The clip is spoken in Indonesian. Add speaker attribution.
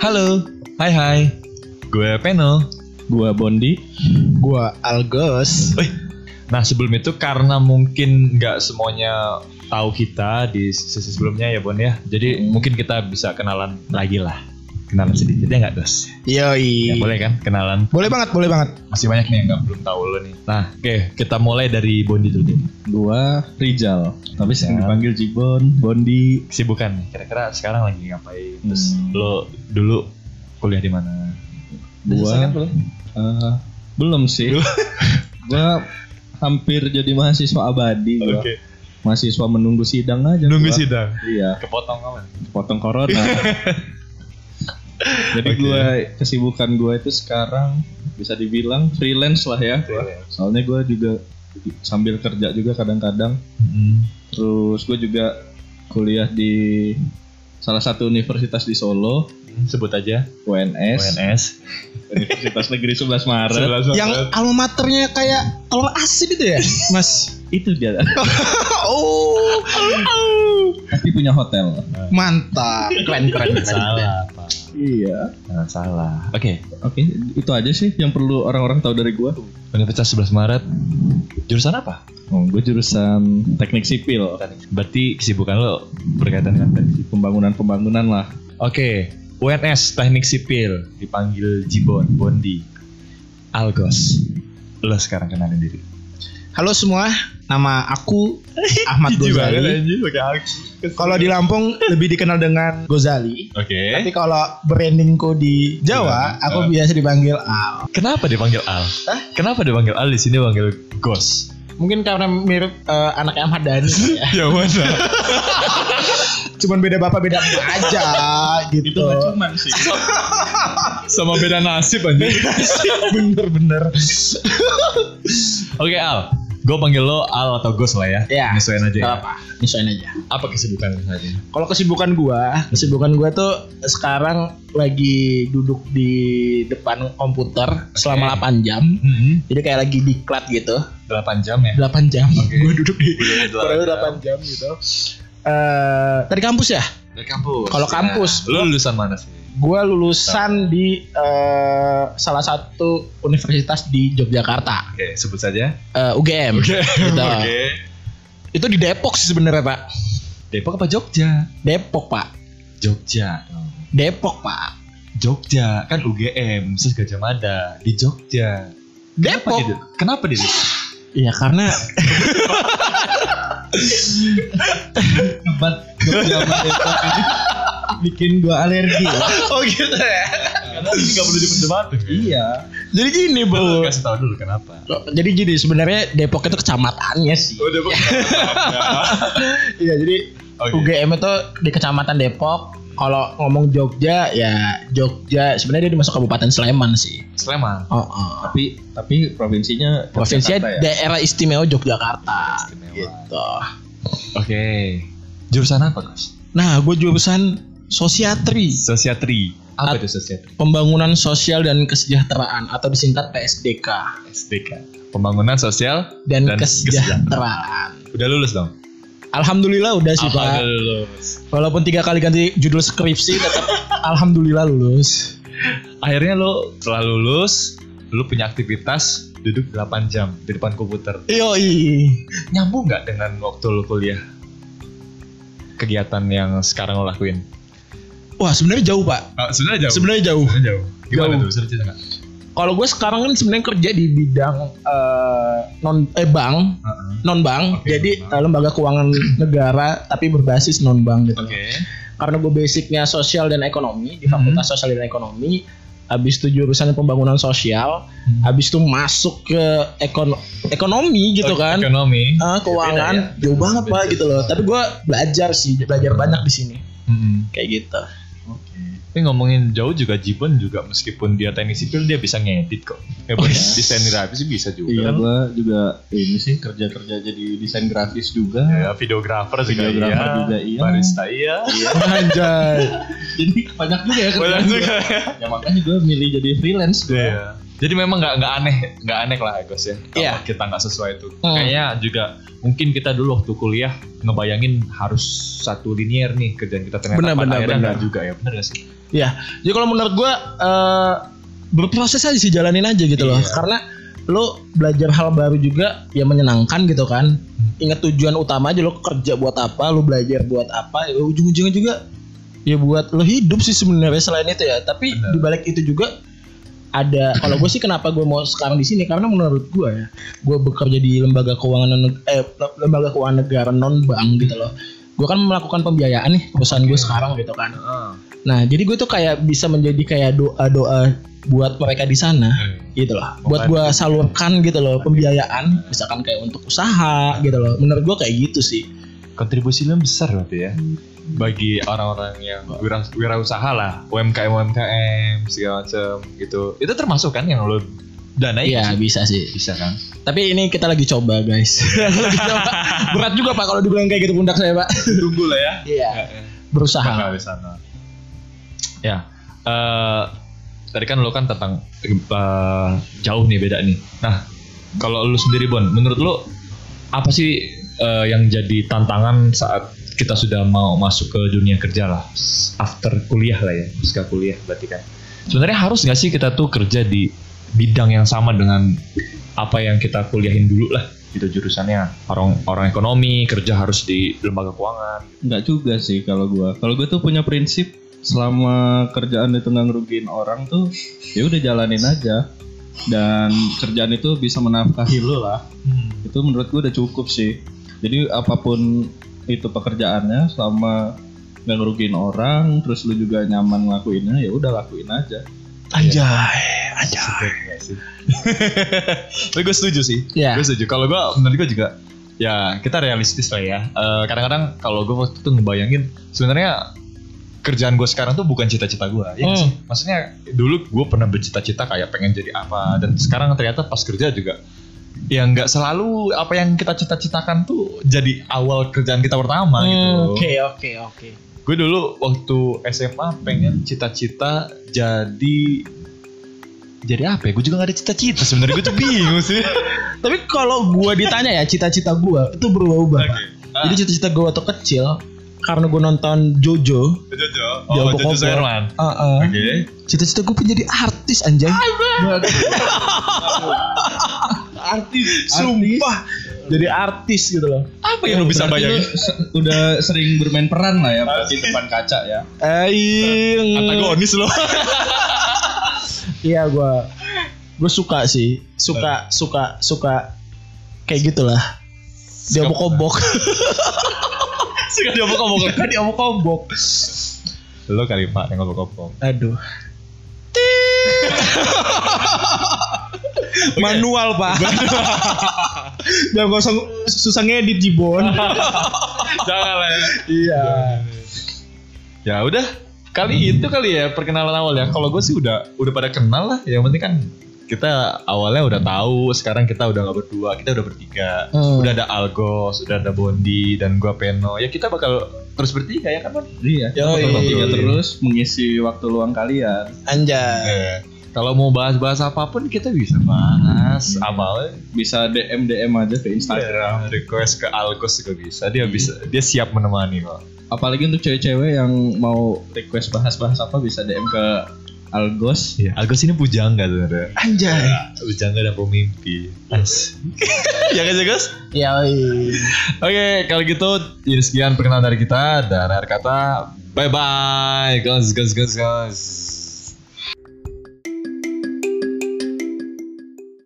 Speaker 1: Halo, hai hai. Gue Peno.
Speaker 2: Gua Bondi.
Speaker 3: Gua Algos.
Speaker 1: Wih. Nah sebelum itu karena mungkin nggak semuanya tahu kita di sesi sebelumnya ya Bon ya. Jadi
Speaker 2: Hmm.
Speaker 1: mungkin kita bisa kenalan lagi lah. Kenalan sedikit ya nggak Dos? Ya,
Speaker 3: Yoi.
Speaker 2: Iya.
Speaker 1: boleh kan kenalan?
Speaker 3: Boleh banget, boleh banget.
Speaker 1: Masih banyak nih yang nggak belum tahu lo nih. Nah oke kita mulai dari Bondi dulu deh.
Speaker 2: Gua Rijal. Tapi sering dipanggil Jibon, Bondi.
Speaker 1: Kesibukan nih. Kira-kira sekarang lagi ngapain? Terus
Speaker 2: Hmm.
Speaker 1: lo dulu kuliah di mana?
Speaker 2: Gua eh, belum sih. gua hampir jadi mahasiswa abadi gua. Mahasiswa menunggu sidang aja.
Speaker 1: Nunggu
Speaker 2: gua.
Speaker 1: sidang.
Speaker 2: Iya,
Speaker 1: Kepotong kapan?
Speaker 2: potong corona. jadi
Speaker 1: Oke.
Speaker 2: gua kesibukan gua itu sekarang bisa dibilang freelance lah ya. gua. Soalnya gua juga sambil kerja juga kadang-kadang
Speaker 1: Hmm.
Speaker 2: Terus gue juga kuliah di salah satu universitas di Solo,
Speaker 1: Sebut aja.
Speaker 2: UNS,
Speaker 1: UNS.
Speaker 2: Universitas Negeri 11 Maret.
Speaker 3: Yang alma maternya kayak telur asin itu ya, Mas.
Speaker 2: Itu dia.
Speaker 3: oh,
Speaker 2: Tapi punya hotel.
Speaker 3: mantap. Keren, keren. keren.
Speaker 1: salah Pak.
Speaker 2: Iya.
Speaker 1: Jangan salah. Oke,
Speaker 2: Oke, itu aja sih yang perlu orang-orang tahu dari gue.
Speaker 1: Universitas 11 Maret. Jurusan apa?
Speaker 2: Oh, gue jurusan teknik sipil,
Speaker 1: Berarti kesibukan lo berkaitan dengan teknik sipil.
Speaker 2: pembangunan-pembangunan lah.
Speaker 1: Oke, UNS Teknik Sipil dipanggil Jibon Bondi. Algos. Lo sekarang kenalin diri.
Speaker 3: Halo semua, nama aku Ahmad Gozali. Kalau di Lampung lebih dikenal dengan Gozali.
Speaker 1: Oke.
Speaker 3: Tapi kalau brandingku di Jawa,
Speaker 1: Eh? Iya,
Speaker 3: aku biasa dipanggil Al.
Speaker 1: Kenapa dipanggil Al?
Speaker 3: Hah?
Speaker 1: Kenapa dipanggil Al di sini panggil Gos?
Speaker 3: Mungkin karena mirip eh, anaknya Ahmad Dhani ya.
Speaker 1: Ya mana?
Speaker 3: Cuman beda bapak beda emak aja gitu.
Speaker 2: cuman sih.
Speaker 1: Sama beda nasib aja.
Speaker 3: Bener-bener.
Speaker 1: Oke Al, gue panggil lo Al atau Gos lah ya.
Speaker 3: Ya.
Speaker 1: Nyesuaiin aja. Ya.
Speaker 3: Gak apa, nyesuaiin aja.
Speaker 1: Apa kesibukan lo saat ini?
Speaker 3: Kalau kesibukan
Speaker 1: Hmm.
Speaker 3: gua, kesibukan gua tuh sekarang lagi duduk di depan komputer selama 8 jam.
Speaker 2: Hmm.
Speaker 3: Jadi kayak lagi diklat gitu.
Speaker 1: 8 jam ya.
Speaker 3: 8 jam.
Speaker 1: Oke.
Speaker 3: Gua duduk di
Speaker 1: Baru
Speaker 3: kurang lebih 8 jam gitu. Eh, tadi kampus ya?
Speaker 1: Dari kampus. Ya.
Speaker 3: Kalau kampus,
Speaker 1: Lu lulusan mana sih?
Speaker 3: Gua lulusan di eh, salah satu universitas di Yogyakarta,
Speaker 1: Oke, sebut saja.
Speaker 3: Eh, UGM. Gitu. Itu di Depok sih sebenarnya, Pak.
Speaker 1: Depok apa Jogja?
Speaker 3: Depok, Pak.
Speaker 1: Jogja.
Speaker 3: Depok, Pak.
Speaker 1: Jogja kan UGM, terus Gajah Mada di Jogja.
Speaker 2: Oh.
Speaker 1: Kenapa
Speaker 3: Depok.
Speaker 1: dia? Kenapa dia?
Speaker 3: gitu? Iya, karena
Speaker 2: Hebat. Jaman Depok ini bikin gue alergi.
Speaker 3: Oh gitu ya.
Speaker 1: Karena ini gak perlu diperdebatkan.
Speaker 2: iya.
Speaker 3: Jadi gini
Speaker 1: Lu
Speaker 3: bro.
Speaker 1: kasih tau dulu kenapa.
Speaker 3: Jadi gini sebenarnya Depok itu kecamatannya sih.
Speaker 1: Oh, Depok.
Speaker 3: Iya jadi
Speaker 1: Oke.
Speaker 3: UGM itu di kecamatan Depok. Kalau ngomong Jogja ya Jogja sebenarnya dia masuk kabupaten Sleman sih.
Speaker 1: Sleman.
Speaker 3: Oh, oh.
Speaker 2: Tapi tapi provinsinya
Speaker 3: Provinsinya
Speaker 2: Jakarta ya?
Speaker 3: daerah istimewa Yogyakarta.
Speaker 1: Istimewa.
Speaker 3: Gitu.
Speaker 1: Oke. Jurusan apa, Gus?
Speaker 3: Nah, gue jurusan sosiatri,
Speaker 1: Sosiatri. Apa
Speaker 3: Apa
Speaker 1: itu sosiatri?
Speaker 3: pembangunan sosial dan kesejahteraan atau disingkat PSDK
Speaker 1: SDK. Pembangunan sosial
Speaker 3: dan,
Speaker 1: Dan
Speaker 3: kesejahteraan.
Speaker 1: udah lulus dong.
Speaker 3: Alhamdulillah udah sih, Pak.
Speaker 1: Udah lulus.
Speaker 3: Walaupun tiga kali ganti judul skripsi tetap alhamdulillah lulus.
Speaker 1: akhirnya lo setelah lulus lo punya aktivitas duduk 8 jam di depan komputer
Speaker 3: Yoi.
Speaker 1: nyambung nggak dengan waktu lo kuliah kegiatan yang sekarang lo lakuin
Speaker 3: Wah, sebenarnya jauh, Pak.
Speaker 1: Ah, sebenarnya jauh
Speaker 3: Sebenarnya jauh.
Speaker 1: Sebenarnya jauh gimana
Speaker 3: Jauh.
Speaker 1: tuh seru cerita nggak
Speaker 3: Kalau gue sekarang kan sebenarnya kerja di bidang eh, non eh bank,
Speaker 1: Heeh.
Speaker 3: non bank.
Speaker 1: Oke,
Speaker 3: jadi
Speaker 1: non-bank.
Speaker 3: eh, lembaga keuangan negara tapi berbasis non bank gitu.
Speaker 1: oke
Speaker 3: Karena gue basicnya sosial dan ekonomi di
Speaker 2: Hmm.
Speaker 3: Fakultas Sosial dan Ekonomi, habis itu jurusan pembangunan sosial,
Speaker 1: Hmm.
Speaker 3: habis itu masuk ke ekono ekonomi gitu
Speaker 1: Oke,
Speaker 3: kan.
Speaker 1: ekonomi Ya
Speaker 2: Ya,
Speaker 3: Ah, keuangan jauh banget pak gitu loh. Tapi gue belajar sih, belajar banyak di sini
Speaker 1: Mm-mm.
Speaker 3: kayak gitu.
Speaker 1: Tapi ngomongin jauh juga Jibon juga meskipun dia teknik sipil dia bisa ngedit kok. Ya,
Speaker 3: Oh,
Speaker 1: bukan
Speaker 3: iya.
Speaker 1: desain grafis sih bisa juga
Speaker 2: Iya,
Speaker 1: kan.
Speaker 2: gue juga ini sih kerja-kerja jadi desain grafis juga.
Speaker 3: Hmm.
Speaker 1: Ya, videografer juga
Speaker 2: Videografer
Speaker 1: iya,
Speaker 2: juga iya.
Speaker 1: barista iya.
Speaker 3: Anjay.
Speaker 2: Jadi banyak juga ya kerjaan
Speaker 1: Banyak
Speaker 2: gua.
Speaker 1: juga.
Speaker 2: Ya makanya gue milih jadi freelance gue.
Speaker 1: Iya. Jadi memang nggak nggak aneh nggak aneh lah Agus ya. Kalau
Speaker 3: Iya.
Speaker 1: kita nggak sesuai itu.
Speaker 3: Hmm.
Speaker 1: Kayaknya juga mungkin kita dulu waktu kuliah ngebayangin harus satu linier nih kerjaan kita ternyata
Speaker 3: Benar,
Speaker 1: pada
Speaker 3: benar,
Speaker 1: akhirnya
Speaker 3: benar.
Speaker 1: nggak juga ya benar nggak sih?
Speaker 3: Iya. Jadi kalau menurut gua eh, berproses aja sih jalanin aja gitu loh.
Speaker 1: Iya.
Speaker 3: Karena lu belajar hal baru juga ya menyenangkan gitu kan. Ingat tujuan utama aja lo kerja buat apa, lu belajar buat apa, ya ujung-ujungnya juga ya buat lo hidup sih sebenarnya selain itu ya. Tapi
Speaker 1: Benar.
Speaker 3: dibalik itu juga ada kalau gue sih kenapa gue mau sekarang di sini karena menurut gue ya gue bekerja di lembaga keuangan neg- eh, lembaga keuangan negara non bank gitu loh gue kan melakukan pembiayaan nih perusahaan gue sekarang gitu kan Nah, jadi gue tuh kayak bisa menjadi kayak doa-doa buat mereka di sana
Speaker 1: Hmm.
Speaker 3: gitu loh. Buat gue salurkan gitu loh pembiayaan misalkan kayak untuk usaha gitu loh. Menurut gue kayak gitu sih.
Speaker 1: kontribusi lu besar berarti ya bagi orang-orang yang wira, wirausaha lah UMKM UMKM segala macam gitu itu termasuk kan yang lo danai
Speaker 3: Iya, bisa sih.
Speaker 1: bisa kan
Speaker 3: Tapi ini kita lagi coba, guys. Lagi coba. Berat juga Pak kalau dibilang kayak gitu pundak saya, Pak.
Speaker 1: tunggu lah ya
Speaker 3: Iya. Berusaha.
Speaker 1: Bakal di sana. Ah. Ya, eh, tadi kan lo kan tentang eh, jauh nih beda nih. Nah, kalau lo sendiri Bon, menurut lo apa sih eh, yang jadi tantangan saat kita sudah mau masuk ke dunia kerja lah, after kuliah lah ya, pasca kuliah berarti kan. Sebenarnya harus nggak sih kita tuh kerja di bidang yang sama dengan apa yang kita kuliahin dulu lah gitu jurusannya orang orang ekonomi kerja harus di lembaga keuangan
Speaker 2: Enggak juga sih kalau gua. Kalau gua tuh punya prinsip selama kerjaan itu nggak ngerugiin orang tuh ya udah jalanin aja dan kerjaan itu bisa menafkahi lo lah
Speaker 1: Hmm.
Speaker 2: itu menurut gua udah cukup sih jadi apapun itu pekerjaannya selama nggak ngerugiin orang terus lu juga nyaman ngelakuinnya ya udah lakuin aja
Speaker 3: Anjay, anjay.
Speaker 1: ya Tapi gue setuju sih.
Speaker 3: Iya.
Speaker 1: Gue setuju. Kalau gue menurut gue juga ya kita realistis lah ya. Eh, Kadang-kadang kalau gue waktu itu ngebayangin sebenarnya kerjaan gue sekarang tuh bukan cita-cita gue. Ya
Speaker 3: Hmm.
Speaker 1: nggak sih? Maksudnya dulu gue pernah bercita-cita kayak pengen jadi apa dan sekarang ternyata pas kerja juga ya nggak selalu apa yang kita cita-citakan tuh jadi awal kerjaan kita pertama gitu.
Speaker 3: Hmm, Oke, oke, oke.
Speaker 1: Gue dulu waktu SMA pengen cita-cita jadi jadi apa ya? Gue juga gak ada cita-cita sebenarnya gue tuh bingung sih.
Speaker 3: Tapi kalau gua ditanya ya cita-cita gua itu berubah-ubah. Pak.
Speaker 2: Nah.
Speaker 1: Ah.
Speaker 3: Jadi cita-cita gua waktu kecil karena gua nonton Jojo,
Speaker 1: Jojo.
Speaker 3: Ya,
Speaker 1: Oh, Jojo
Speaker 3: pokoknya.
Speaker 1: Suherman.
Speaker 3: Heeh.
Speaker 1: Oke.
Speaker 3: Cita-cita gue pengen jadi artis
Speaker 1: Ah,
Speaker 3: anjay.
Speaker 1: Artis.
Speaker 3: Sumpah. Jadi artis gitu loh.
Speaker 1: Apa yang lu bisa
Speaker 2: Berarti lu
Speaker 1: bayangin?
Speaker 2: se- udah sering bermain peran lah ya di depan kaca ya
Speaker 3: Eh,
Speaker 1: Antagonis lo.
Speaker 3: iya gue gue suka sih, suka suka suka kayak gitulah. Dia obok-obok.
Speaker 1: Suka kan dia
Speaker 3: Oh,
Speaker 1: obok-obok. Suka dia obok-obok. Lo kali pak yang obok-obok.
Speaker 3: Aduh. Manual pak. Jangan gak usah susah ngedit Jibon.
Speaker 1: Jangan lah ya.
Speaker 3: iya.
Speaker 1: Ya udah. Kali itu kali ya perkenalan awal ya. Kalau gue sih udah udah pada kenal lah. Yang penting kan kita awalnya udah tahu sekarang kita udah nggak berdua kita udah bertiga
Speaker 3: Hmm.
Speaker 1: udah ada Algos udah ada Bondi dan gua Peno ya kita bakal terus bertiga ya kan Bon?
Speaker 2: iya
Speaker 3: Yoi.
Speaker 2: bertiga terus mengisi waktu luang kalian
Speaker 3: Anjay.
Speaker 1: Eh, Kalau mau bahas-bahas apapun kita bisa bahas. Awalnya
Speaker 2: bisa DM DM aja ke Instagram
Speaker 1: Instagram request ke Algos juga bisa. Dia bisa dia siap menemani kok.
Speaker 2: apalagi untuk cewek-cewek yang mau request bahas-bahas apa bisa DM ke Algos
Speaker 1: Algos ini pujangga sebenarnya.
Speaker 3: Anjay.
Speaker 1: Pujangga dan pemimpi. ya kan Gus?
Speaker 3: Iya.
Speaker 1: Oke, kalau gitu ini sekian perkenalan dari kita dan akhir kata bye bye. Gus, gus, gus, gus.